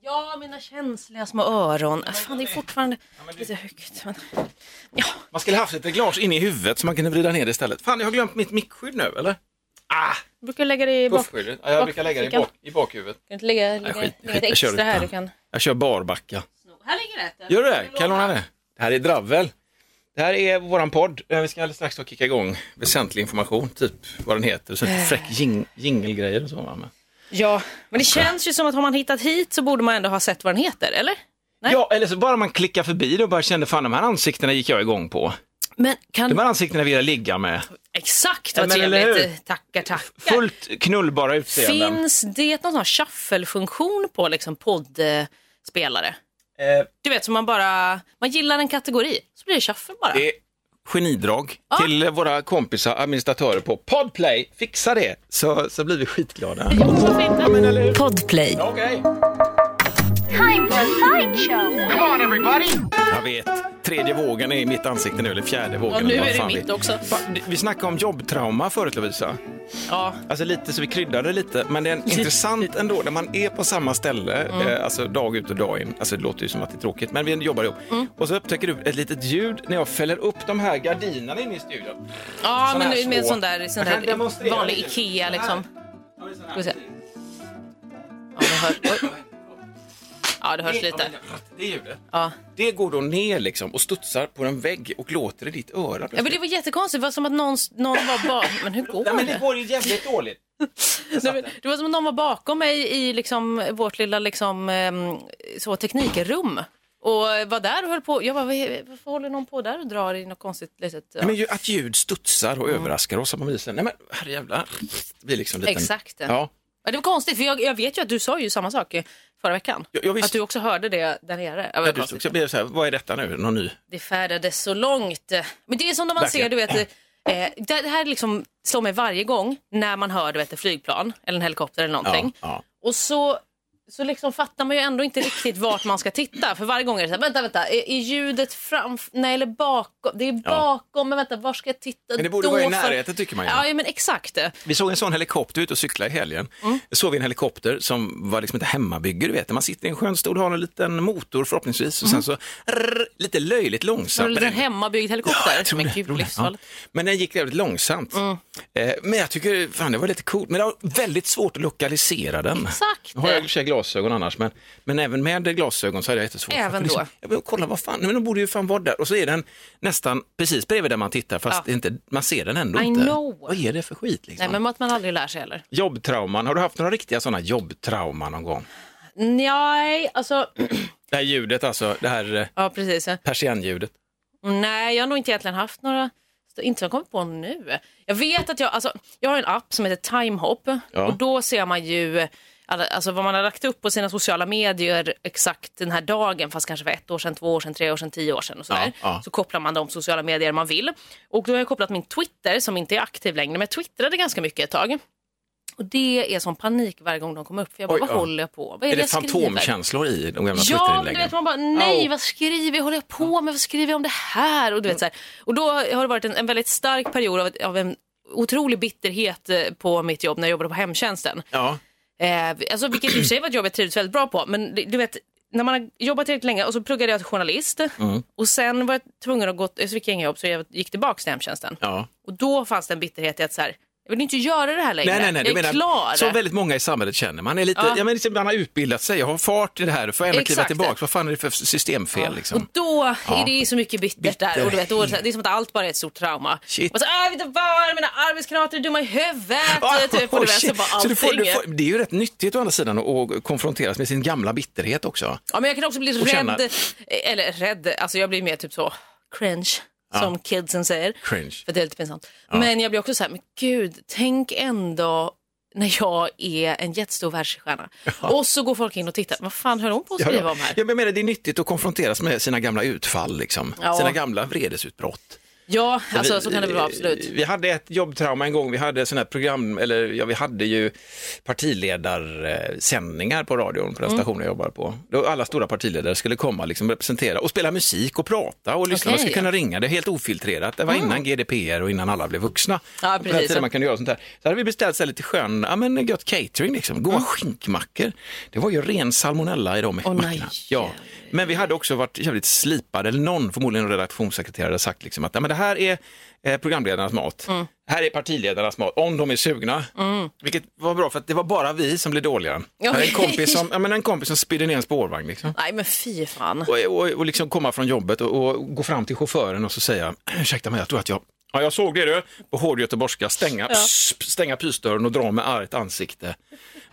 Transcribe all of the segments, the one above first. Ja, mina känsliga små öron. Fan, det är fortfarande lite högt. Men... Ja, Man skulle haft ett reglage inne i huvudet så man kunde vrida ner det istället. Fan, jag har glömt mitt mickskydd nu, eller? Ah, jag brukar lägga det i bak... puffskyddet. Ja, jag brukar lägga det i, bakfickan. bak, i bakhuvudet. Kan du inte lägga, lägga, skit, lägga skit, det jag kör extra här? utan. Du kan... Jag kör barbacka. Här ligger det. Gör du det? Kan jag låna det? Det här är Dravel. Det här är våran podd. Eh, Vi ska alldeles strax då kicka igång väsentlig information, typ vad den heter. Så lite fräck jing- jingelgrejer och så. va? Men... Ja, men det känns ju som att har man hittat hit så borde man ändå ha sett vad den heter, eller? Nej. Ja, eller så bara man klickar förbi det och bara kände fan de här ansiktena gick jag igång på. Men kan... De här ansiktena vill jag ligga med. Exakt Ja, vad men eller trevligt. Tackar, tackar. Fullt knullbara utseenden. Finns det någon sån här shuffle-funktion på liksom poddspelare? Eh, Du vet, som man bara... Man gillar en kategori, så blir det shuffle bara. Det är genidrag till våra kompisar, administratörer på Podplay. Fixa det så, så blir vi skitglada. Ja, varför inte? Podplay. Okej. Time for a sideshow. Jag vet, tredje vågen är i mitt ansikte nu, eller fjärde vågen. Ja, nu eller vad är det fan mitt vi- också. Fan, det- Vi snackade om jobbtrauma förut Lovisa. Ja, Alltså lite så vi kryddade lite, men det är en- intressant ändå när man är på samma ställe, Mm. eh, alltså dag ut och dag in. Alltså det låter ju som att det är tråkigt, men vi jobbar ihop. Mm. Och så upptäcker du ett litet ljud när jag fäller upp de här gardinerna inne i studion. Ja, Sån men här nu med små. sån där, sån Jag kan där demonstrera vanlig lite. IKEA Så här. liksom. Ja, det är sån här. Ska vi se. Ja, det, hör, oj. ja, det hörs lite. Ja, men Det ljudet. Ja. Det går då ner liksom och studsar på en vägg och låter i ditt öra. Ja, men det var jättekonstigt. Det var som att någon, någon var bakom... Men hur går Nej, men det? det går ju jävligt dåligt. Nej, men Det var som att någon var bakom mig i liksom vårt lilla liksom, ehm, så, teknikrum. Och var där och höll på. Jag bara, "Vad- varför håller någon på där och drar i något konstigt litet... Ja. Nej, men ju att ljud studsar Mm. och överraskar oss. att Man blir så här, nej men herrejävlar. Det blir liksom lite... Exakt. Ja. Ja, det var konstigt, för jag, jag vet ju att du sa ju samma sak eh, förra veckan. Ja, ja, visst. att du också hörde det där nere. Ja, vad Ja, du, konstigt. så blir det så här, vad är detta nu? Någon ny? det färdades så långt. Men det är som när man Verkligen. ser, du vet, eh, det det här liksom slår mig varje gång när man hör du vet, ett flygplan eller en helikopter eller någonting. ja. Och så, så liksom fattar man ju ändå inte riktigt vart man ska titta. För varje gång är det så här, vänta, vänta, är, är ljudet framför, nej eller bakom, det är bakom, men vänta, var ska jag titta Men det borde då? vara i för- närheten, tycker man ju. Ja, ja, men exakt. Vi såg en sån helikopter ute och cykla i helgen. Mm. Såg vi en helikopter som var liksom ett hemmabygge, du vet. Man sitter i en skön stol och har en liten motor förhoppningsvis och sen så rrr, lite löjligt Så Mm. en långsamt. Men liten den- hemmabyggd helikopter. Jag tror men det, gud, tror det. livsfarligt. Mm. Ja. Men den gick jävligt långsamt. Eh, Men jag tycker fan, det var lite coolt. Men det var väldigt svårt att lokalisera den. Exakt. Nu har jag i och för sig glasögon annars, men, men även med glasögon så hade jag jättesvårt. Även För liksom- då? jag bara, kolla vad fan, men de borde ju fan vara där. Och så är den nästan precis bredvid där man tittar, fast Ja. det är inte, man ser den ändå I inte. know. Vad är det för skit liksom? Nej, men att man aldrig lär sig heller. Jobbtrauman, har du haft några riktiga sådana jobbtrauman någon gång? Nej, alltså, Det här ljudet alltså, det här eh, ja precis. persiennljudet. Nej, jag har nog inte egentligen haft några, inte som jag kommer på nu. Jag vet att jag, alltså, jag har en app som heter Timehop Ja. och då ser man ju alla- alltså, vad man har lagt upp på sina sociala medier exakt den här dagen, fast kanske för ett år sedan, två år sedan, tre år sedan, tio år sedan och sådär. Ja, ja. Så kopplar man de sociala medier man vill. Och då har jag kopplat min Twitter, som inte är aktiv längre, men jag twittrade ganska mycket ett tag. Och det är som panik varje gång de kommer upp, för jag bara, Oj, vad ja. håller jag på? Vad är, Är det det jag skriver? fantomkänslor i de gamla Ja, men du Twitterinläggen? vet man bara, nej Au. vad skriver jag, håller jag på med, vad skriver jag om det här? Och, du vet, så här. och då har det varit en, en väldigt stark period av, ett- av en otrolig bitterhet eh, på mitt jobb när jag jobbade på hemtjänsten. Ja, Eh, alltså, vilket i och för sig var ett jobb jag trivdes väldigt bra på, men det- du vet, när man har jobbat tillräckligt länge och så pluggade jag till journalist Mm. och sen var jag tvungen att gå, så fick jag inga jobb så jag gick tillbaka till hemtjänsten. ja. Och då fanns det en bitterhet i att så här, jag vill inte göra det här längre, Nej, nej, nej. jag är Du menar, klar. Så väldigt många i samhället känner. Man är lite, Ja. ja. men liksom, man har utbildat sig, jag har fart i det här, får jag ändå kliva Exakt. tillbaka. Vad fan är det för systemfel? Liksom? Och då Ja. är det så mycket bittert där. Och du vet, då, är det så här- det är som att allt bara är ett stort trauma. Shit. Och så, "Ah, jag vet inte vad, mina arbetskamrater är dumma i huvudet. typ, och du vet, så Ah, shit. bara Så allting. du får, du får, det är ju rätt nyttigt å andra sidan att- att konfronteras med sin gamla bitterhet också. Ja, men jag kan också bli rädd. känna- Eller rädd, alltså jag blir mer typ så cringe. Som kidsen säger. Cringe. För det är lite pinsamt. Men jag blir också så här, men gud, tänk ändå när jag är en jättestor världsstjärna. Och så går folk in och tittar, vad fan höll hon på att Ja, skriva ja. om här? Ja, men jag menar, det är nyttigt att konfronteras med sina gamla utfall, liksom. Ja. sina gamla vredesutbrott. Ja, Men alltså vi- eh, så kan det väl vara absolut. Vi hade ett jobbtrauma en gång, vi hade sån här program, eller ja, vi hade ju partiledarsändningar på radion på den Mm. stationen jag jobbar på. Då alla stora partiledare skulle komma liksom representera och spela musik och prata och lyssna. Okej. Mm. De skulle kunna ringa, det är helt ofiltrerat. Det var innan GDPR och innan alla blev vuxna. Ja, Och På den precis. tiden man kunde göra sånt här. Så hade vi beställt så här lite skön, ja men gött catering liksom, Mm. goda skinkmackor. Det var ju ren salmonella i de Åh, nej. mackorna. Ja. Men vi hade också varit jävligt slipade, eller någon, förmodligen en redaktionssekreterare, hade sagt liksom att "Nej, men det här är eh, programledarnas mat. Mm. Det här är partiledarnas mat, om de är sugna. Vilket var bra för att det var bara vi som blev dåliga. Jag hade En, kompis som, ja, men en kompis som spydde ner en spårvagn. Liksom. Nej men fy fan. Och, och, och liksom komma från jobbet och, och gå fram till chauffören och så säga, ursäkta mig, jag tror att jag Ja, jag såg det du, på hård göteborgska, stänga, pss, stänga pysdörren och dra med argt ansikte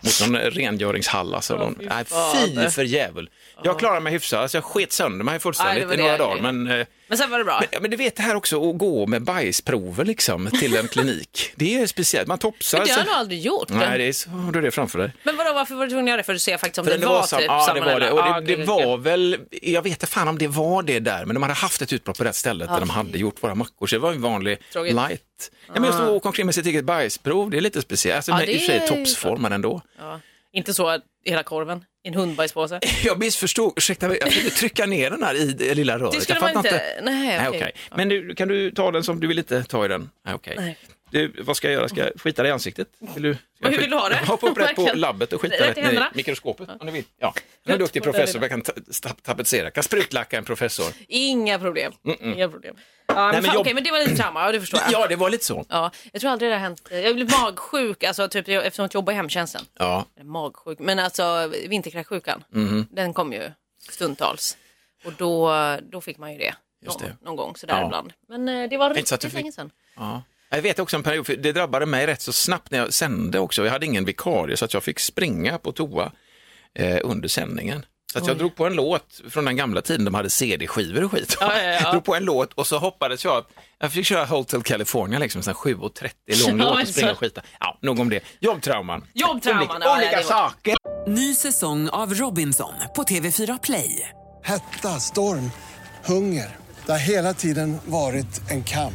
mot någon rengöringshall. Alltså, någon, nej, fy fader. för jävel. Jag klarade mig hyfsat, alltså, jag sket sönder mig Nej, det fullständigt var i några det. dagar. Men, eh, Men sen var det bra. men, men du vet det här också att gå med bajsprover liksom, till en klinik. Det är speciellt, man topsar. Men det har jag så- nog aldrig gjort. Alltså- Nej, det är så, har du det framför dig. Men vadå, varför var du tvungen att göra det? För att se faktiskt om För det, den var, sam- typ ja, det var det. salmonella. Och Ja, det, det gud, var väl, jag vet inte fan om det var det där, men de hade haft ett utbrott på rätt ställe där de hade gjort våra mackor, så det var en vanlig Tråkigt. Ah. light. Ja, men just att åka omkring med sitt eget bajsprov, det är lite speciellt. Alltså, Ja, men I det och för sig är- toppsformen ändå. Inte så att hela korven i en hundbajspåse. Jag missförstod, ursäkta mig, jag fick trycka ner den här i det lilla röret. Det skulle jag man fattar inte... Nej, Nej, okej. okej. Men du, kan du ta den som du vill inte ta i den? Nej, okej. Nej. Du, vad ska jag göra? Ska jag skita dig i ansiktet? Vill du, ska jag Hur vill du ha det? Hoppa upp rätt på Verkligen. labbet och skita Rätt i rätt ner i händerna. mikroskopet om du vill. Ja. Jag är en duktig på den professor, lilla. jag kan ta- sta- tapetsera, kan sprutlacka en professor. Inga problem. Inga problem. Ja, men men fan, jag- Okej, men det var lite trauma, ja, det förstår jag. Ja, det var lite så. Ja, jag tror aldrig det har hänt. Jag blev magsjuk, alltså, typ, jag, eftersom jag jobbar i hemtjänsten. Ja. Eller Magsjuk, men alltså vinterkräksjukan, Mm-hmm. den kom ju stundtals. Och då, då fick man ju det. Just någon, det. någon gång sådär Ja. ibland. Men eh, det var Inte så att riktigt du fick- länge sedan. ja. Jag vet också en period, för det drabbade mig rätt så snabbt när jag sände också. Jag hade ingen vikarie så att jag fick springa på toa eh, under sändningen. Så att jag drog på en låt från den gamla tiden, de hade CD-skivor och skit. Ja, ja, ja. drog på en låt och så hoppades jag att jag fick köra Hotel California, liksom, sån här 7.30 lång Ja, låt men och springa så- och skita. Ja, nog om det. Jobbtrauman. Jobbtrauman, olika, ja, ja, olika det var- saker. Ny säsong av Robinson på TV4 Play. Hetta, storm, hunger. Det har hela tiden varit en kamp.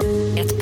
Ett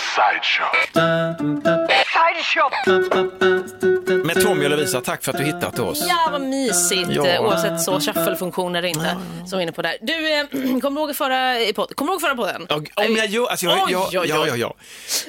Med Tommy och Lovisa, tack för att du hittat oss. Ja, vad mysigt. Ja. eh, Oavsett så shuffle-funktion eller inte. Som vi är inne på där. Du, eh, kommer du ihåg förra i podd- kommer du ihåg förra podden? Ja, Om jag gör, alltså jag, Oj, jag, oj, oj. ja, ja, ja.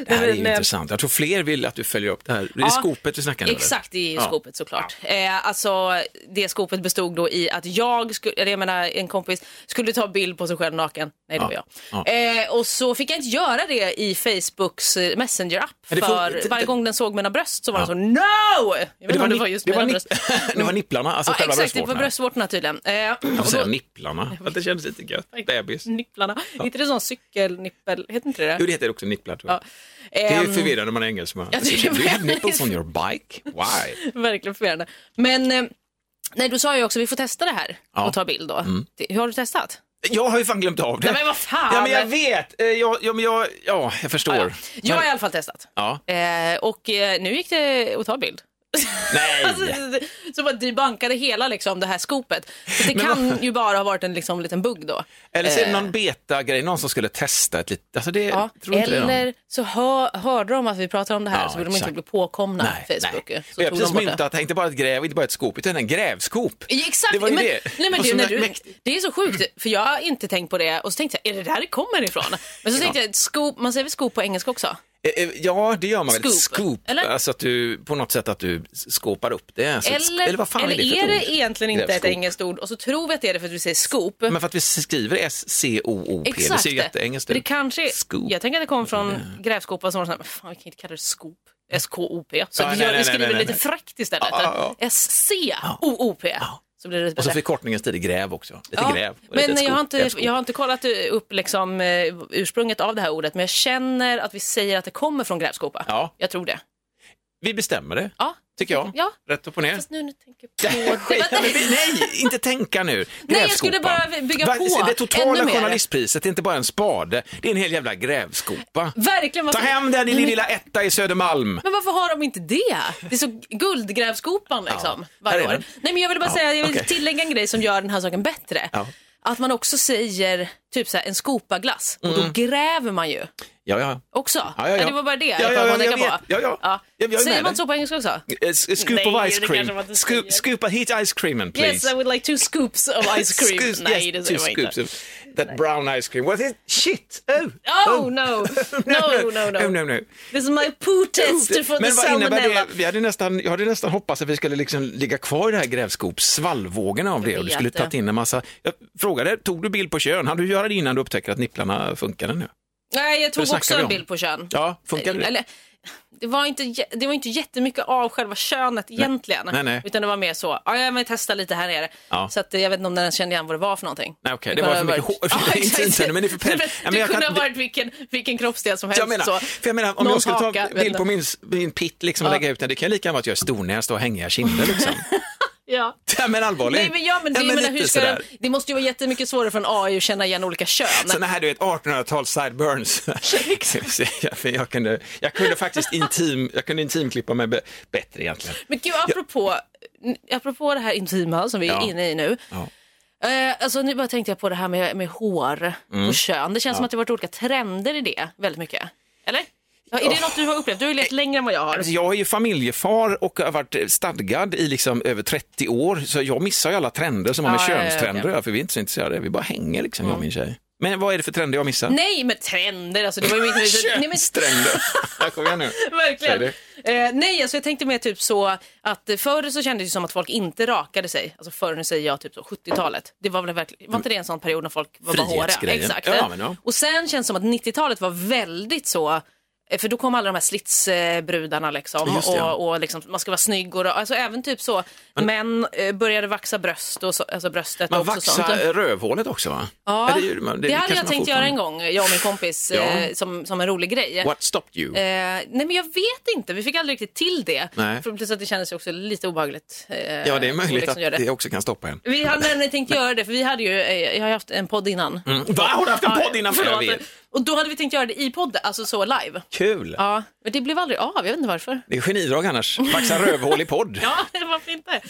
Det här är ju Men- intressant. Jag tror fler vill att du följer upp det här. Det är Ja, skopet vi snackar nu. eller? Exakt, det är ju Ja. skopet såklart. Eh, alltså, det skopet bestod då i att jag, skulle, eller jag menar en kompis, skulle ta bild på sig själv naken. Nej, det var Ja. jag. Eh, och så fick jag inte göra det i Facebooks eh, Messenger-app. Men det får- För det- det- varje gång den såg mina bröst så var Ja. den så NO! Jag vet Men inte Det om var, det nip- var just det, mina var bröst. nip- det var nipplarna, alltså Ja, själva exakt, det var bröstvårtorna. bröstvårtorna tydligen. Eh, Jag och får då- säga nipplarna, Mm. för att det kändes lite gött. Bebis. Nipplarna. Inte det sån cykelnippel? Heter inte det Ehm, Jo, det det? heter också nipplar tror jag. Det Det är ju förvirrande när man är engelsman. jag tycker Do you have det. nipples on your bike? Why? Verkligen förvirrande. Men eh, nej, du sa ju också vi får testa det här Ja. Mm. och ta bild då. Det- Hur har du testat? Jag har ju fan glömt av det. Nej, men vad fan! Ja, men jag vet. Eh, Jag, ja, men jag, ja, jag förstår. Ja, ja. Jag har i Men- alla fall testat. ja. Eh, och eh, nu gick det att ta bild. Nej. alltså, så- så bara debunkade hela liksom, det här skopet. Så det kan ju bara ha varit en liksom, liten bugg då. Eller så är det någon beta-grej, någon som skulle testa ett litet... Alltså det, Eh. Ja, tror inte det är någon. eller så hör, hörde de att vi pratade om det här Ja, så ville de exakt. inte bli påkomna på nej, Facebook. ju. nej. Så Vi har tog de precis bort det. myntat, inte bara ett gräv, inte bara ett skop, utan en grävskop. Ja, Exakt, Det var ju men, det. Alltså, Nej, men Och det, så när mä- du, mäkt- det är så sjukt, för jag har inte tänkt på det och så tänkte jag, är det där det kommer ifrån? Men så tänkte jag, scoop, man säger väl scoop på engelska också? Eh, eh, Ja, det gör man väl. Scoop, Scoop. eller? Alltså att du på något sätt att du skåpar upp det. Alltså, ett sk- Eller, eller vad fan eller är det för är ett det ord? egentligen inte Det är ett scoop. engelskt ord och så tror vi att det är det för att vi säger scoop. Men för att vi skriver S-C-O-O-P, det Exakt. ser ju jätteengelskt För det ut. kanske, Scoop. Jag tänker att det kom från grävskopan som var såhär, fan vi kan inte kalla det scoop. S-K-O-P. Så Ja, vi, nej, gör, nej, vi nej, skriver nej, nej. lite fräckt istället. Ja, ja, S-C-O-O-P. Så blir det lite Och så bättre. förkortningens tid är gräv också. Lite Ja, gräv. och lite Men jag skop. har, inte, Ett skop. jag har inte kollat eh, upp liksom, eh, ursprunget av det här ordet, men jag känner att vi säger att det kommer från grävskopa. Ja. Jag tror det. Vi bestämmer det, Ja, tycker jag. Ja. Rätt upp och ner. fast nu när jag tänker på Skit, det. men vi- Nej, inte tänka nu. Nej, jag Grävskopa. skulle bara bygga Va- på Det ännu totala mer. journalistpriset är inte bara en spade, det är en hel jävla grävskopa. Verkligen. Ta varför- hem den i Nej, din men- lilla etta i Södermalm. Men varför har de inte det? Det är så guldgrävskopan liksom, där varje är år. den. Nej, men jag vill bara Ja, säga, jag vill okej. tillägga en grej som gör den här saken bättre. Ja. Att man också säger typ så här, en skopaglass och då gräver man ju Ja, ja. också. Mm. Ja, ja, ja. Det var bara det Ja, jag ja, kom ja, att tänka jag vet. på. Ja, ja. Jag- jag är säger med man dig. så på engelska också? Eh, s- Scoop Nej, of det ice kanske cream. man inte Scoop, säger. scoop a heat ice creamen, Yes, please. I would like two scoops of ice cream. Scoops, Nej, yes, det two säger man scoops inte. of that brown ice cream. What is shit? Oh, Oh, no. No, no, no. Oh, Oh, no, no. This is my poo test for the Men vad innebär salmonella. det? Vi hade nästan, jag hade nästan hoppats att vi skulle liksom ligga kvar i det här grävskopssvallvågorna av det och du vet skulle tagit det. in en massa. Jag frågade, tog du bild på kön? Hade du göra det innan du upptäcker att nipplarna funkade nu? Nej, jag Det tog snackar också vi en om. bild på kön. Ja, funkade det? Eller, det, var inte, jä- det var inte jättemycket av själva könet egentligen. Nej, nej. Utan det var mer så, ja, jag vill testa lite här nere. Ja. Så att, eh, jag vet inte om den ens kände igen vad det var för någonting. Nej, okej, det var för mycket hår- Ja, exakt. intimt, men det är för pen- Du, Nej, men du jag kan- kunde ha varit vilken, vilken kroppsdel som helst. Jag menar, så. för jag menar om Någons jag skulle ta haka, vet bild inte. på min, min pitt liksom, och lägga ut den, det kan ju lika gärna vara att jag är stornäst och har hängiga kinder. Liksom. Ja. ja, men allvarligt. Nej, men, ja, men, det, jag menar, hur lite ska den, sådär. det måste ju vara jättemycket svårare för en AI att känna igen olika kön. Sådana här du vet 1800-tals sideburns. Så jag, jag, kunde, jag kunde faktiskt intim, jag kunde intimklippa mig be- bättre egentligen. Men gud, apropå, apropå det här intima som vi är Ja. inne i nu. Ja. Eh, alltså nu bara tänkte jag på det här med, med hår Mm. och kön. Det känns som att det har varit olika trender i det väldigt mycket. Eller? Ja, Är det något du har upplevt? Du har ju levt längre än vad jag har. Alltså, jag är ju familjefar och har varit stadgad i liksom över 30 år, så jag missar ju alla trender som har med Ja, ja, ja, ja. könstrender att göra, för vi är inte så intresserade, vi bara hänger liksom, jag och min tjej. Men vad är det för trender jag missar? Nej, men trender alltså. Det var ju mitt... Nej, men Könstrender! Ja, Kom igen nu. Verkligen. Säg Eh, nej, alltså jag tänkte mer typ så att eh, förr så kändes det som att folk inte rakade sig. Alltså förr, nu säger jag typ så 70-talet. Det var väl verkligen, var inte det en sån period när folk var bara håriga? Frihetsgrejen. Exakt. Ja, men ja. Och sen känns det som att 90-talet var väldigt så eh, för då kom alla de här slitsbrudarna liksom, Just det, ja. och, och liksom, man ska vara snygg. Och, ra- alltså även typ så, män eh, började vaxa bröst och så, alltså bröstet Man och också sånt. vaxar rövhålet också va? Ja, det, gör man- det, hade kanske jag man tänkt göra fortfarande- en gång, jag och min kompis, Ja. eh, som, som en rolig grej. What stopped you? Eh, nej men jag vet inte, vi fick aldrig riktigt till det. Nej. För plus att det kändes ju också lite obehagligt. eh, ja, det är möjligt Oleg att som gör det också kan stoppa en. Vi hade nämligen tänkt göra det, för vi hade ju, eh, jag har ju haft en podd innan. Va, har du haft en Ja, Mm. podd innan? förlåt. Jag vet. Och då hade vi tänkt göra det i podden, alltså så live. Kul! Ja, men det blev aldrig av, jag vet inte varför. Det är genidrag annars. Vaxa rövhål i podd. Ja, varför inte?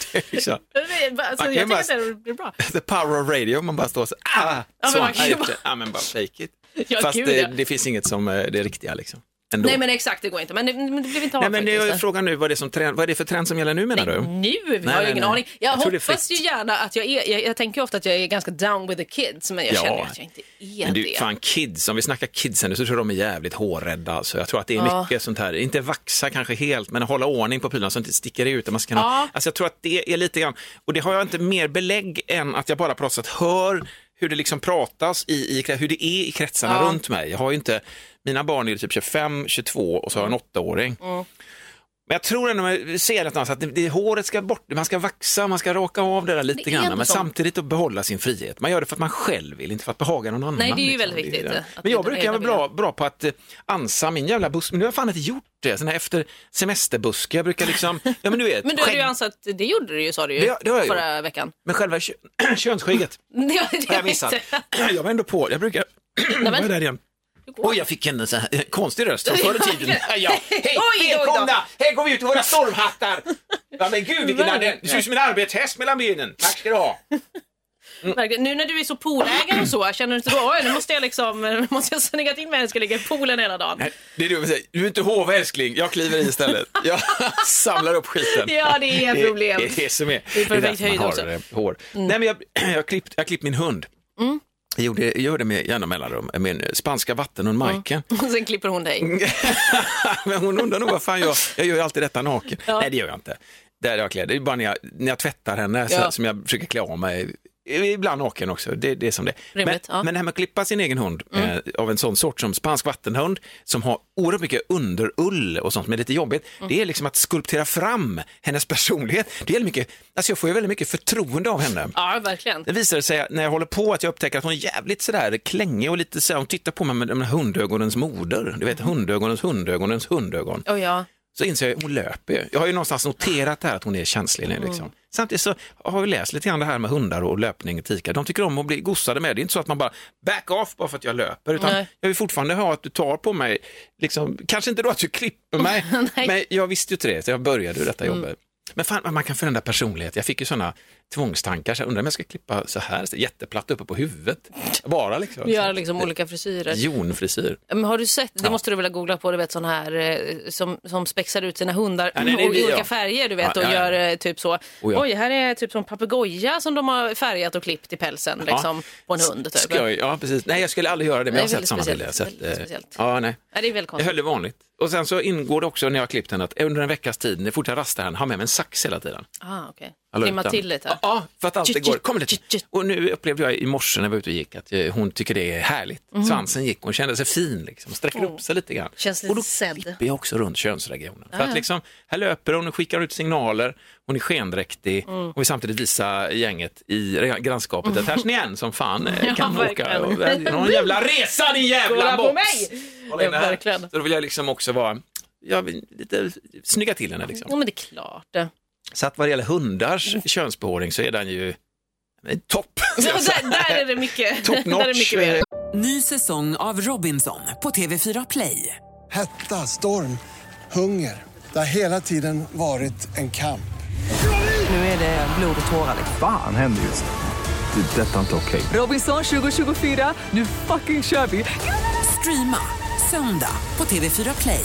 Så. Nej, Alltså, Man jag kan tycker bara- att det blir bra. The power of radio, man bara står så. Ah, men så. man kan ju Ja, just bara- det. Ja, men bara fake it. Ja, Fast gud, det, ja. det finns inget som eh, det riktiga liksom. Ändå. Nej men exakt, det går inte. Men det, men det blev inte av Nej, men det är ju faktiskt. frågan nu, vad är, det som trend, vad är det för trend som gäller nu menar du? Nu? Nej, Vi har ju nej, ingen nej. aning. Jag, Jag tror det är hoppas ju fritt. gärna att jag är, jag, jag tänker ju ofta att jag är ganska down with the kids, men jag Ja. känner ju att jag inte är Men du, det. fan kids, om vi snackar kidsen nu så tror jag de är jävligt hårrädda. Alltså. Jag tror att det är Ja. mycket sånt här, inte vaxa kanske helt, men hålla ordning på prylarna så att det inte sticker ut. Och man ska kunna... Ja. alltså, jag tror att det är lite grann, och det har jag inte mer belägg än att jag bara på något sätt hör hur det liksom pratas, i, i, hur det är i kretsarna Ja. runt mig. Jag har ju inte, mina barn är ju typ 25, 22 och så har jag en Mm. åttaåring. Men jag tror ändå, jag ser det någonstans, att det, det, håret ska bort, man ska vaxa, man ska raka av det där lite Det är grann, ändå men så. samtidigt att behålla sin frihet. Man gör det för att man själv vill, inte för att behaga någon annan. Nej, det är ju väldigt Det viktigt, det. att Men jag det är brukar den vara egna bra, bra på att eh, ansa min jävla buss, men nu har jag fan inte gjort det. Sen här efter semesterbuske, jag brukar liksom, ja men du vet, Men du hade skägg- ju ansett, det gjorde du ju sa du ju Det- det har jag förra veckan. men själva kö, könsskägget Det har det har jag missat. jag var ändå på, jag brukar, Nej, vad är men, där igen? Oj, jag fick en så här, eh, konstig röst från förr i tiden. Ja. Ja, Hej, Oj, då, då. välkomna! Här går vi ut i våra stormhattar! Ja, men gud vilken adell! Du ser ut som en arbetshäst mellan benen. Tack ska du ha! verkligen. nu när du är så poolägare och så, känner du inte då, oj nu måste jag liksom, nu måste jag snygga till mig, jag ska ligga i poolen hela dagen. Nej, Det är du som säger, du är inte hov älskling, jag kliver i istället. Jag samlar upp skiten. Ja, det är ett problem. Det är det som är. Det är perfekt därför man höjd har också. Mm. eh, Hår. Nej, men jag, jag har klippt, jag har klippt min hund. Jag gjorde, jag gjorde med jämna mellanrum med spanska vatten Mm. och Majken. Och sen klipper hon Mm. dig. Men hon undrar nog vad fan jag, jag gör ju alltid detta naken. Nej det gör jag inte. Där jag kläder, det är bara när jag, när jag tvättar henne så, Ja. som jag försöker klä av mig. Ibland naken också, det, det är som det är. men, Rimligt, ja. Mm. men det här med att klippa sin egen hund eh, av en sån sort som spansk vattenhund som har oerhört mycket underull och sånt som är lite jobbigt. Mm. Det är liksom att skulptera fram hennes personlighet. Det gäller mycket, alltså jag får ju väldigt mycket förtroende av henne. Ja, verkligen. Det visade sig när jag håller på att jag upptäcker att hon är jävligt sådär klängig och lite så här, hon tittar på mig med de här hundögonens moder. Du vet hundögonens hundögonens hundögon. Oh, ja. Så inser jag att hon löper ju. Jag har ju någonstans noterat det här att hon är känslig Mm. nu liksom. Samtidigt så har vi läst lite grann det här med hundar och löpning och tikar. De tycker om att bli gossade med. Det är inte så att man bara back off bara för att jag löper utan Nej. jag vill fortfarande ha att du tar på mig. Liksom, kanske inte då att du klipper mig, Nej. Mm. men jag visste ju inte det så jag började ju detta jobbet. Men fan vad man kan förändra personlighet. Jag fick ju sådana tvångstankar, så jag undrar om jag ska klippa så här, så jätteplatt uppe på huvudet. Bara liksom. Vi gör liksom olika frisyrer. Jonfrisyr. Men har du sett, det måste du väl ha googlat på, du vet sån här eh, som, som spexar ut sina hundar Ja, nej, det är och vi, i olika ja. färger du vet Ja, och ja, ja. gör eh, typ så. Oh, ja. Oj, här är typ som papegoja som de har färgat och klippt i pälsen liksom på en hund typ. Skoj, ja precis. Nej, jag skulle aldrig göra det, men Nej, jag har sett väldigt sådana speciellt, bilder. Jag har sett, väldigt eh, speciellt. Ja, nej. Ja, det är väl Jag konstigt. höll det vanligt. Och sen så ingår det också när jag har klippt henne att under en veckas tid, när jag fortfarande rastar henne, har med mig en sax hela tiden. Ah, okej. Jag la ut Trimma den. till lite. Ja, Ja, för att alltid Tjut, tjut, går. Kom lite. tjut, tjut. Och nu upplevde jag i morse när vi var ute och gick att eh, hon tycker det är härligt. Svansen gick, hon kände sig fin liksom, sträcker upp sig lite grann. Mhm. Oh. Känns lite och då sedd. Ah. klipper jag också runt könsregionen. För att liksom, här löper hon och skickar ut signaler, hon är skendräktig Mm. och vi samtidigt visar gänget i re- grannskapet att här ser ni en som fan eh, Ja, kan åka. verkligen. Och, eh, någon jävla resa din jävla Kolla på box! mig! Hålla in Ja, det här. verkligen. Så då vill jag liksom också vara, jag vill lite snygga till henne liksom. Jo men det är klart. Så att vad det gäller hundars könsbehåring så är den ju eh, topp. Mm. Ja, där, där är det mycket. Top där är det notch. mycket mer. Ny säsong av Robinson på TV4 Play. Hetta, storm, hunger. Det har hela tiden varit en kamp. Nu är det blod och tårar. liksom. Fan händer just det. Det är detta inte okej. Robinson 2024, nu fucking kör vi! Streama söndag på TV4 Play.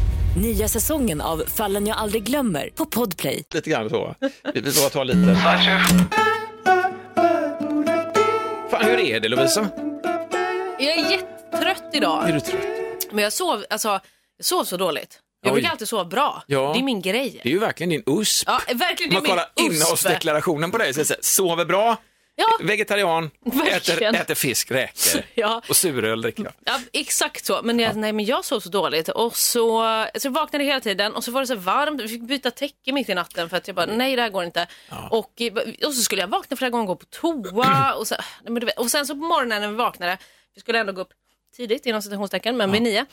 Nya säsongen av Fallen jag aldrig glömmer på Podplay. Lite grann så. Vi vi får bara ta lite. Fan, hur är det Lovisa? Jag är jättetrött idag. Är du trött? Men jag sov, alltså, jag sov så dåligt. Jag Oj. brukar alltid sova bra. Ja. Det är min grej. Det är ju verkligen din USP. Ja, verkligen, det är Man min kollar USP. innehållsdeklarationen på dig. Så är det så här, sover bra, Ja. vegetarian, äter, Verkligen. äter fisk, räkor Ja. och suröl dricker jag. Ja, exakt så. Men jag, nej, men jag sov så dåligt och så, så jag vaknade hela tiden och så var det så varmt. Vi fick byta täcke mitt i natten för att jag bara, nej det här går inte. Och, och så skulle jag vakna flera gånger och gå på toa och, så, nej, men du vet, och sen så på morgonen när vi vaknade, vi skulle ändå gå upp tidigt inom citationstecken, men vid nio.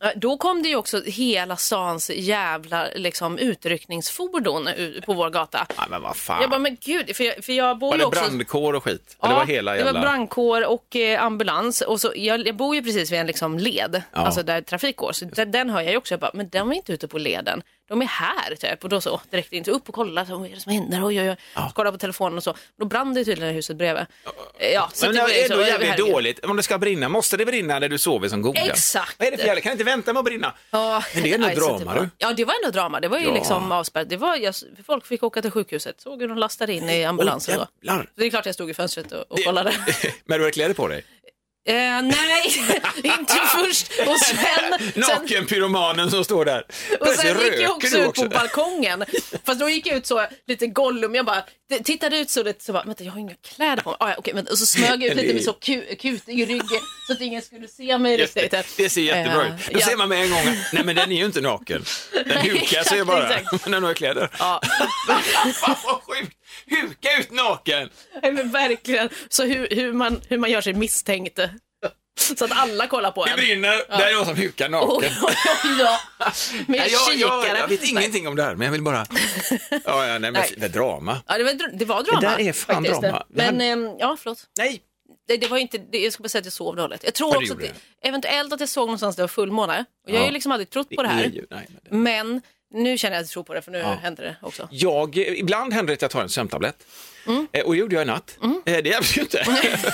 Ja, Då kom det ju också hela stans jävla liksom, utryckningsfordon u- på vår gata. Nej, men vad fan. Jag bara, men gud, för jag, för jag bor Ah, var ju det också... brandkår och skit? Ja, det var hela jävla... det var brandkår och eh, ambulans. Och så, jag, jag bor ju precis vid en liksom, led, alltså där trafik går. Så den, den hör jag ju också. Jag bara, men den var inte ute på leden. De är här typ. Och då så direkt in, så upp och kolla. Så, vad är det som händer? Oj, oj, oj. Så kolla på telefonen och så. Då brann det tydligen i huset bredvid. Eh, Ja, så men det det var ju är så, ändå ja, jävligt herregud. dåligt. Om det ska brinna, måste det brinna när du sover som godast? Exakt. Vad är det för jävla? Kan det inte vänta med att brinna? Ja, Men det är ändå nej, så drama, det var- du. Ja, det var ändå drama. Det var ju Ja. liksom avspärrat. Det var, jag, folk fick åka till sjukhuset. Såg hur de lastade in i ambulansen då. Åh, jävlar. Så det är klart jag stod i fönstret och, och kollade. Men du har kläder på dig? Eh, nej, inte först. Och sen, sen, Nakenpyromanen som står där. och sen Plötsligt gick jag röker också du ut på balkongen. Fast då gick jag ut så lite Gollum. Jag bara t- tittade ut så det så bara, vänta jag har inga kläder på mig. Ah, ja, okej, men, och så smög jag ut lite med så ku- kut i ryggen så att ingen skulle se mig Just riktigt. det. det ser jättebra ut. Eh, Då ja. ser man med en gång, nej men den är ju inte naken. Den hukar sig exakt, bara, exakt. men den har kläder. Ja, Fan vad sjukt! Huka ut naken! nej, men verkligen. Så hur, hur, man, hur man gör sig misstänkt. Så att alla kollar på Det en. brinner, där är någon som hukar Oj, naken. oj, oj, ja. Med Nej, jag, jag, kikare. jag vet ingenting om det här, men jag vill bara... Ja, ja, nej, men Nej. det är drama. Ja, det, var, dra- det var drama. Det där är fan faktiskt. drama. Men, ehm, ja, förlåt. Nej, det, det var ju inte, det, jag ska bara säga att jag sov dåligt. Jag tror Ja, det också att gjorde det, eventuellt att jag såg någonstans där det var fullmåne. Och jag har Ja. ju liksom aldrig trott på det är här. ju- nej, nej. Men nu känner jag att jag tror på det för nu Ja. händer det också. Jag, eh, ibland händer det att jag tar en sömntablett. Mm. Eh, Och det gjorde jag i natt. Eh, Det hjälpte ju inte.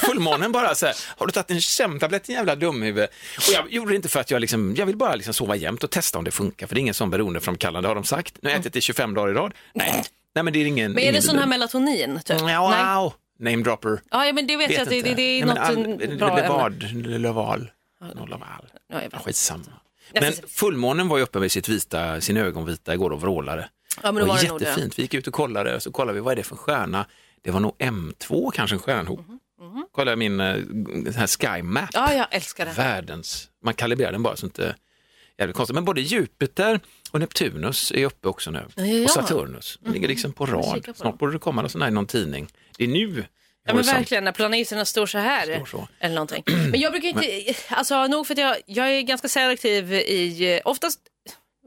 Fullmånen bara så här, har du tagit en sömntablett din jävla dumhuvud? Och jag gjorde det inte för att jag liksom, jag vill bara liksom sova jämt och testa om det funkar, för det är ingen sån beroendeframkallande har de sagt. Nu har jag ätit det 25 dagar i rad. Nej, nej men det är ingen... Men är det ingen sån här beroende. melatonin? Typ? Nej. Wow, name dropper. Ja, ja, men det vet, jag att det, inte. det, det är Nej, något men all- bra ämne. Leval, Leval, Leval. Ja, jag vet. Skitsamma. Ja, Men precis. fullmånen var ju uppe med sitt vita, sin ögonvita igår och vrålade. Ja, men då det var, var det nog det. jättefint. Vi gick ut och kollade och så kollade vi, vad är det för stjärna? Det var nog M2, kanske en stjärnhop. Kolla min eh, den här Sky Map, Mhm, Ja, jag älskar det. världens, man kalibrerar den bara så inte jävligt konstigt. Men både Jupiter och Neptunus är uppe också nu. Ja, ja. Och Saturnus, de ligger liksom på Jag får rad. kika på Snart borde det komma någon sån här i någon tidning. Det är nu. Ja, men verkligen, när planeterna står så här. så. Eller någonting. Men jag brukar inte, alltså nog för att jag, jag är ganska selektiv i, eh, oftast,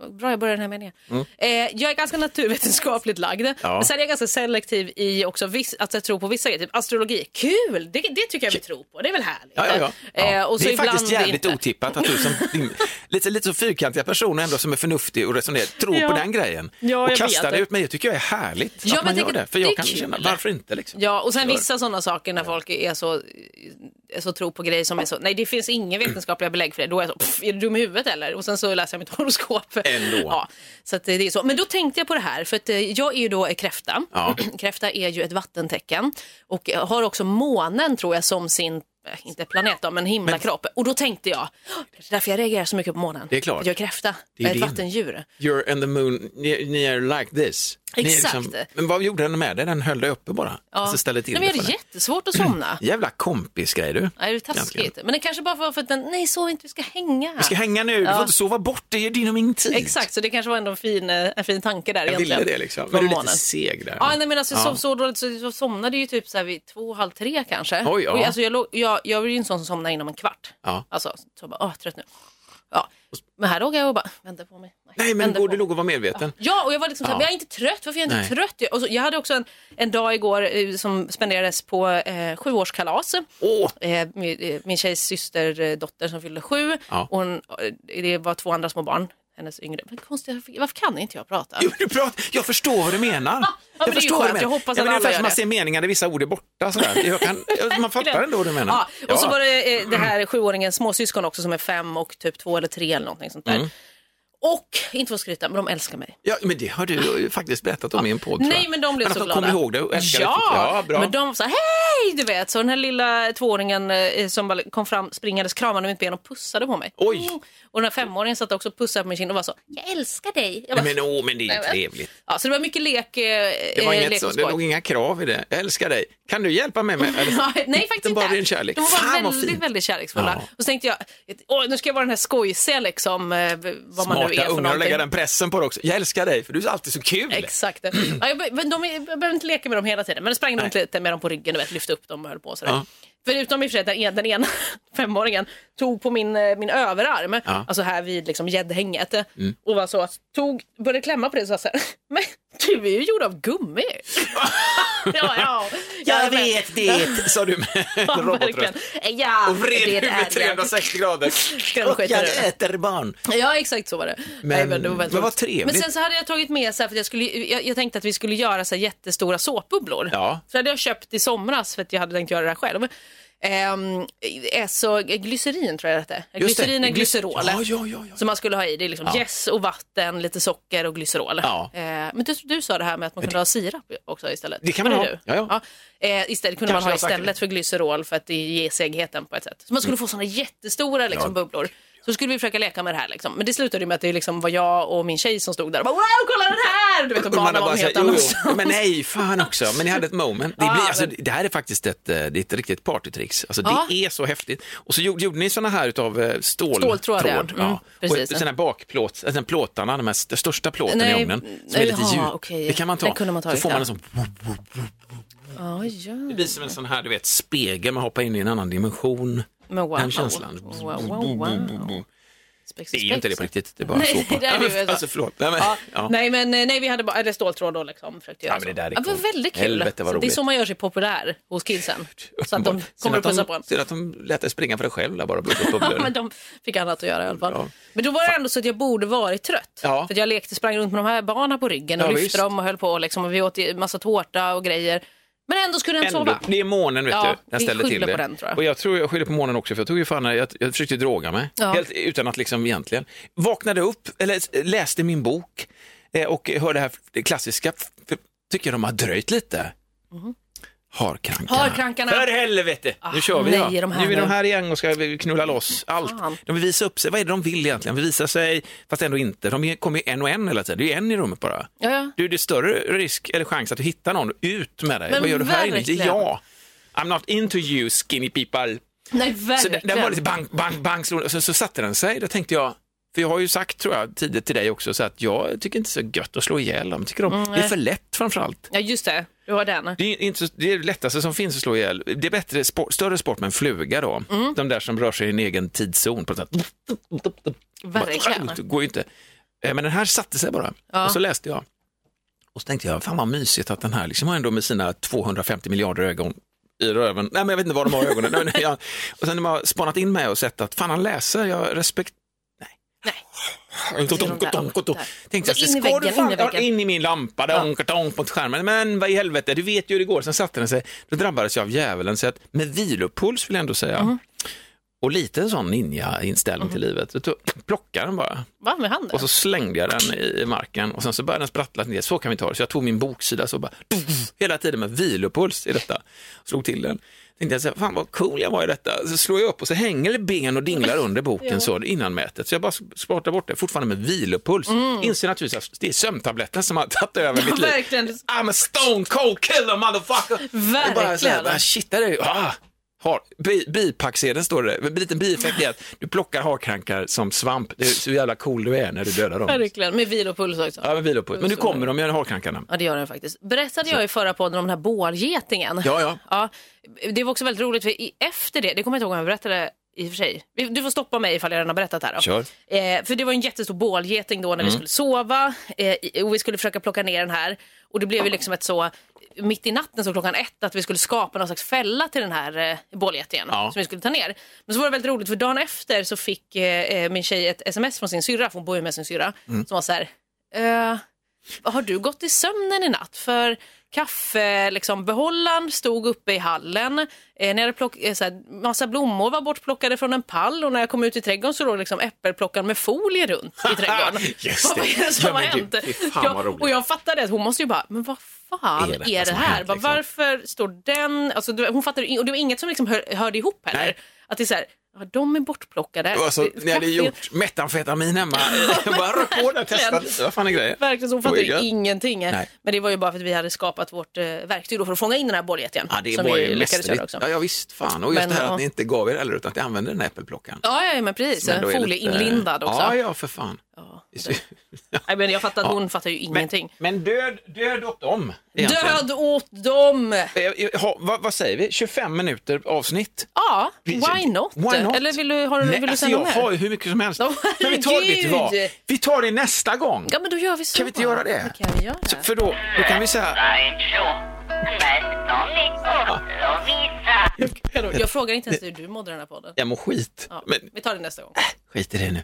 vad bra jag börjar den här meningen. Mm. Eh, jag är ganska naturvetenskapligt lagd, Ja. men sen är jag ganska selektiv i också viss, att jag tror på vissa grejer, typ astrologi. Kul, det, det tycker jag vi tror på, det är väl härligt. Ja, ja, ja. Eh, Ja, och så det är ibland faktiskt jävligt inte. otippat att du som din, lite, lite så fyrkantiga person ändå som är förnuftig och resonerar tror Ja. på den grejen. Ja, och jag kastar vet det det. ut mig. Det tycker jag är härligt Ja, att men man gör tänker, det. För det jag är kan kul. känna, varför inte? Liksom? Ja, och sen Gör vissa sådana saker när folk är så, är så tror på grejer som är så, nej det finns inga vetenskapliga belägg för det. Då är jag så, pff, är du dum i huvudet eller? Och sen så läser jag mitt horoskop. Ändå. Ja, så att det det är så. Men då tänkte jag på det här, för att eh, jag är ju då eh, kräfta. Ja. kräfta är ju ett vattentecken och eh, har också månen tror jag som sin, eh, inte planet då, men himlakropp. Och då tänkte jag, "Åh, det är därför jag reagerar så mycket på månen. Det är klart. För att Jag är kräfta, Det är jag är ett din. vattendjur. You're and the moon, ni, ni är like this. Ni är liksom- Exakt. men vad gjorde den med dig? Den höll dig uppe bara. Ja. Alltså ställde till nej, men det jag för hade dig. jättesvårt att somna. Jävla kompisgrej du. Nej, det är taskigt. Egentligen. Men det kanske bara var för att den, nej så inte, vi ska hänga. Vi ska hänga nu, du Ja. får inte sova bort, det är din och min tid. Exakt, så det kanske var ändå en fin, eh, en fin tanke där Jag egentligen. ville det liksom. Men från du är lite månen. seg där. Ja, nej, men alltså, jag Ja. sov så dåligt så jag somnade ju typ så här vid två, halv tre kanske. Oj, ja. Och jag- alltså, jag, låg, jag, jag är ju en sån som somnar inom en kvart. Ja. Alltså, så jag bara, åh, trött nu. Ja. Men här låg jag och bara, vänta på mig. Nej, men borde du låg och var medveten. Ja, och jag var liksom såhär, Ja. men jag är inte trött, varför är jag inte Nej. trött? Jag, och så, jag hade också en, en dag igår eh, som spenderades på eh, sjuårskalas. Eh, min, eh, min tjejs syster, eh, dotter som fyllde sju, Ja. och hon, eh, det var två andra små barn, hennes yngre. Men konstigt, varför- varför kan inte jag prata? Jo, du pratar, jag förstår vad du menar. men det är jag ju förstår skönt. du menar. Jag hoppas ja, att men det är alla ungefär gör som man det. ser meningar där vissa ord är borta. Sådär. Jag kan, jag- man fattar ändå vad du menar. Ja, och så var det eh, det här sjuåringens småsyskon också som är fem och typ två eller tre eller någonting sånt där. Mm. Och, inte för att skryta, men de älskar mig. Ja, men det har du ju faktiskt berättat om i en podd. tror Nej jag. men de blev men så att de glada. kom ihåg det och älskade ja, det. Ja, bra. men de sa hej du vet. Så den här lilla tvååringen eh, som bara kom fram springandes kramade mitt ben och pussade på mig. Oj. Mm. Och den här femåringen satt också och pussade på min kind och var så jag älskar dig. Jag bara, Nej, men, åh, men det är Nej, ju men- trevligt. ja, så det var mycket lek, eh, Det, var eh, inget lek så, och det låg skoj. inga krav i det. Jag älskar dig. Kan du hjälpa mig med... Eller, Ja, Nej faktiskt Den bara inte. din kärlek. De var Fan, vad väldigt, fint. väldigt kärleksfulla. Ja. Och så tänkte jag, åh, nu ska jag vara den här skojsiga liksom, eh, vad man nu är Smarta för ungar och lägga någonting. den pressen på dig också. Jag älskar dig för du är alltid så kul. Exakt. Ja, jag, be- men de, är- jag behöver inte leka med dem hela tiden, men jag sprang runt lite med dem på ryggen och vet, lyfte upp dem och höll på. och Sådär. Ja. Förutom i och för sig att den, en- den ena femåringen tog på min, eh, min överarm, Ja. alltså här vid liksom gäddhänget, Mm. och var så, tog, började klämma på det och sa så här, men du är ju gjord av gummi. ja, ja, Jag vet det, sa du med Ja, en robotröst. verkligen. Ja, Och vred det är huvudet det. 360 grader. de Och skita jag i det? äter barn. Ja, exakt så var det. Men- Nej, väldigt men vad roligt. trevligt. Men sen så hade jag tagit med, så här, för att jag, skulle, jag, jag tänkte att vi skulle göra så här jättestora såpbubblor. Ja. Så hade jag köpt i somras, för att jag hade tänkt göra det här själv. Ehm, eh, så, glycerin tror jag det hette. Just det, Glycerin är glys- glycerol. Ja, ja, ja, Som man skulle ha i. Det är liksom Ja. jäst och vatten, lite socker och glycerol. Ja. Eh, men du, du sa det här med att man kunde ha sirap också istället. Det kan man Var ha. Ja, ja. Du? Eh, istället Kanske kunde man ha jag sagt istället för glycerol för att det ger segheten på ett sätt. Så man skulle Mm. få sådana jättestora liksom, Ja, bubblor. Så skulle vi försöka leka med det här. Liksom. Men det slutade ju med att det liksom var jag och min tjej som stod där och bara wow, kolla den här! Du vet, och Och man barnen har var bara en helt sagt, jo, annanstans. jo. Men nej, fan också. Men ni hade ett moment. Det, blir, Ja, alltså, men- det här är faktiskt ett, eh, det är ett riktigt partytricks. Alltså, Ja. Det är så häftigt. Och så gjorde, gjorde ni sådana här utav stål, Ståltråd, ja. Mm, ja. precis. och sådana här bakplåt, alltså, den plåtarna, de här st- största plåten Nej, i ugnen, som är lite jaha, djup. okej. Det kan man ta. Den kunde man så tagit, får man ja. en sån, Ja, ja. det blir som en sån här, du vet, spegel, man hoppar in i en annan dimension. Men wow. Den känslan. Wow, wow, wow. spex Det är ju inte det på riktigt, det är bara Nej, såpa. det är det ju. alltså förlåt. Nej, men, Ja. ja. Nej, men eh, nej, vi hade bara, eller ståltråd då liksom. Försökte göra Ja, men det där är så. det coolt. var väldigt kul. Helvete, vad så det är roligt. så man gör sig populär hos kidsen. Så att de Synd kommer att att pussa de, på en. synd att de lät dig springa för dig själv där bara och blåsa upp Ja, men bubblor. de fick annat att göra i alla fall. Ja. Men då var det ändå så att jag borde varit trött. Ja. För att jag lekte, sprang runt med de här barnen på ryggen och Ja, lyfte visst. dem och höll på liksom. Och vi åt ju massa tårta och grejer. Men ändå skulle den Ändå, sova. det är månen vet Ja, du, den vi ställer till skyller det. på den, tror jag. Och jag tror jag skyller på månen också för jag tog ju fan, jag, jag försökte ju droga mig. Ja. Helt utan att liksom egentligen. Vaknade upp, eller läste min bok eh, och hörde det här det klassiska, för, tycker de har dröjt lite. Mhm. Harkrankarna. Harkrankarna. Ah, För helvete! nu kör vi nej, va? är de här Nu är de nu? här igen och ska vi knulla loss allt. Fan. De vill visa upp sig, vad är det de vill egentligen? Vi visar sig, fast ändå inte. De är- kommer ju en och en hela tiden, det är ju en i rummet bara. Ja, ja. Du, det är större risk eller chans att du hittar någon. Ut med dig. Men Vad gör du här inne? Det är verkligen. jag. I'm not into you skinny people. Nej, Så den, verkligen. den var lite bang, bang, bang. Så, så, så satte den sig. Då tänkte jag, för jag har ju sagt tror jag tidigt till dig också, så att jag tycker inte så gött att slå ihjäl dem. Tycker de, Mm, det är nej. för lätt framförallt. Ja, just det. Du har den. Det är, inte så, det är det lättaste som finns att slå ihjäl. Det är bättre, sport, större sport med en fluga då. Mm. De där som rör sig i en egen tidszon. På något sätt. Verkligen. Det går ju inte. Eh, Men den här satte sig bara. Ja. Och så läste jag. Och så tänkte jag, fan vad mysigt att den här liksom har ändå med sina 250 miljarder ögon i röven. Nej, men jag vet inte vad de har i ögonen. Nej, men jag, och sen har man spanat in mig och sett att fan han läser, jag respekt... Nej. Där, Donko, donko, donko. där. Tänkte jag, In i ska väggen, du fan in i ja, väggen. in i min lampa, donk, donk mot skärmen. Men vad i helvete, du vet ju hur det går. Sen satte den sig, då drabbades jag av djävulen. Så att med vilopuls vill jag ändå säga. Mhm. Och lite en sån ninja-inställning till livet. Så tog- plockade den bara. Va, med handen? Och så slängde jag den i marken och sen så började den sprattla ner. Så kan vi ta det. Så jag tog min boksida så bara tuff, hela tiden med vilopuls i detta. Slog till den. Tänkte jag så här, fan vad cool jag var i detta. Så slår jag upp och så hänger det ben och dinglar under boken Ja. så innan mätet. Så jag bara spartar bort det, fortfarande med vilopuls. Inser naturligtvis att det är sömntabletten som har tagit över Mm. Ja, mitt liv. verkligen. I'm a stone cold killer motherfucker. Det är Bara så här, Verkligen. bara, shit, där är ju, ah, har, bi, bipacksedeln står det. En liten bieffekt är att du plockar harkrankar som svamp. Det är så jävla cool du är när du dödar dem. Verkligen. Med vilopuls också. Ja, men, vilopuls. men nu kommer de ju, harkrankarna. Ja, det gör den faktiskt. Berättade jag i förra podden om den här bålgetingen? Ja, ja. ja. Det var också väldigt roligt, för i- efter det, det kommer jag inte ihåg om jag berättade i och för sig. Vi- Du får stoppa mig ifall jag redan har berättat det här. Då. Kör. Eh, för det var en jättestor bålgeting då när vi Mm. skulle sova eh, i- och vi skulle försöka plocka ner den här. Och det blev ju liksom ett så, mitt i natten så klockan ett, att vi skulle skapa någon slags fälla till den här eh, bålgetingen Ja. som vi skulle ta ner. Men så var det väldigt roligt för dagen efter så fick eh, eh, min tjej ett sms från sin syrra, för hon bor ju med sin syrra, Mm. som var så här, eh, har du gått i sömnen i natt? För kaffe, liksom, behållaren stod uppe i hallen. Eh, när jag hade plock, eh, så här, massa blommor var bortplockade från en pall och när jag kom ut i trädgården så låg liksom äppelplockaren med folie runt i trädgården. Just Vad det. var det som Ja, har men gud, hänt? fy fan vad jag, roligt. och jag fattade att hon måste ju bara, men vad fan Är är detta det, som har här? hänt, Bara, liksom? Varför står den... Alltså, du- hon fattade, ju in- och det var inget som liksom hör, hörde ihop heller. Att det är så här, ja, de är bortplockade. Alltså, Det- ni hade kaffe- gjort metamfetamin hemma. Jag bara rör på där, testa lite. Vad fan är grejen? Verkligen, så hon Det var fattade ju ju gött. ingenting. Nej. Men det var ju bara för att vi hade skapat vårt eh, verktyg då för att fånga in den här bålgetingen. Ja, det som var vi ju lyckades göra mästerligt. också. Ja, ja, visst fan. Och just Men, det här ja. att ni inte gav er eller utan att ni använde den här äppelplockaren. Ja, ja, men precis. Som ändå är lite- Folieinlindad också. Ja, ja, för fan. Nej, men jag fattar att Ja. hon fattar ju ingenting. Men, död, död åt dem. egentligen. Död åt dem! Eh, eh, ha, vad, vad säger vi? 25 minuter avsnitt? Ja, Vi- why not? Why not? Eller vill du, har, du- Nej, vill du alltså, säga jag något har ju mer? hur mycket som helst. Ja, men vi tar, vet du vad? herregud. Vi tar det nästa gång. Ja, men då gör vi så. Kan vi inte göra det? Då kan vi göra Så- För då, då kan vi säga... det. Jag frågar inte ens hur du mådde den här podden. Jag mår skit. Ja, Men vi tar det nästa gång. skit i det nu.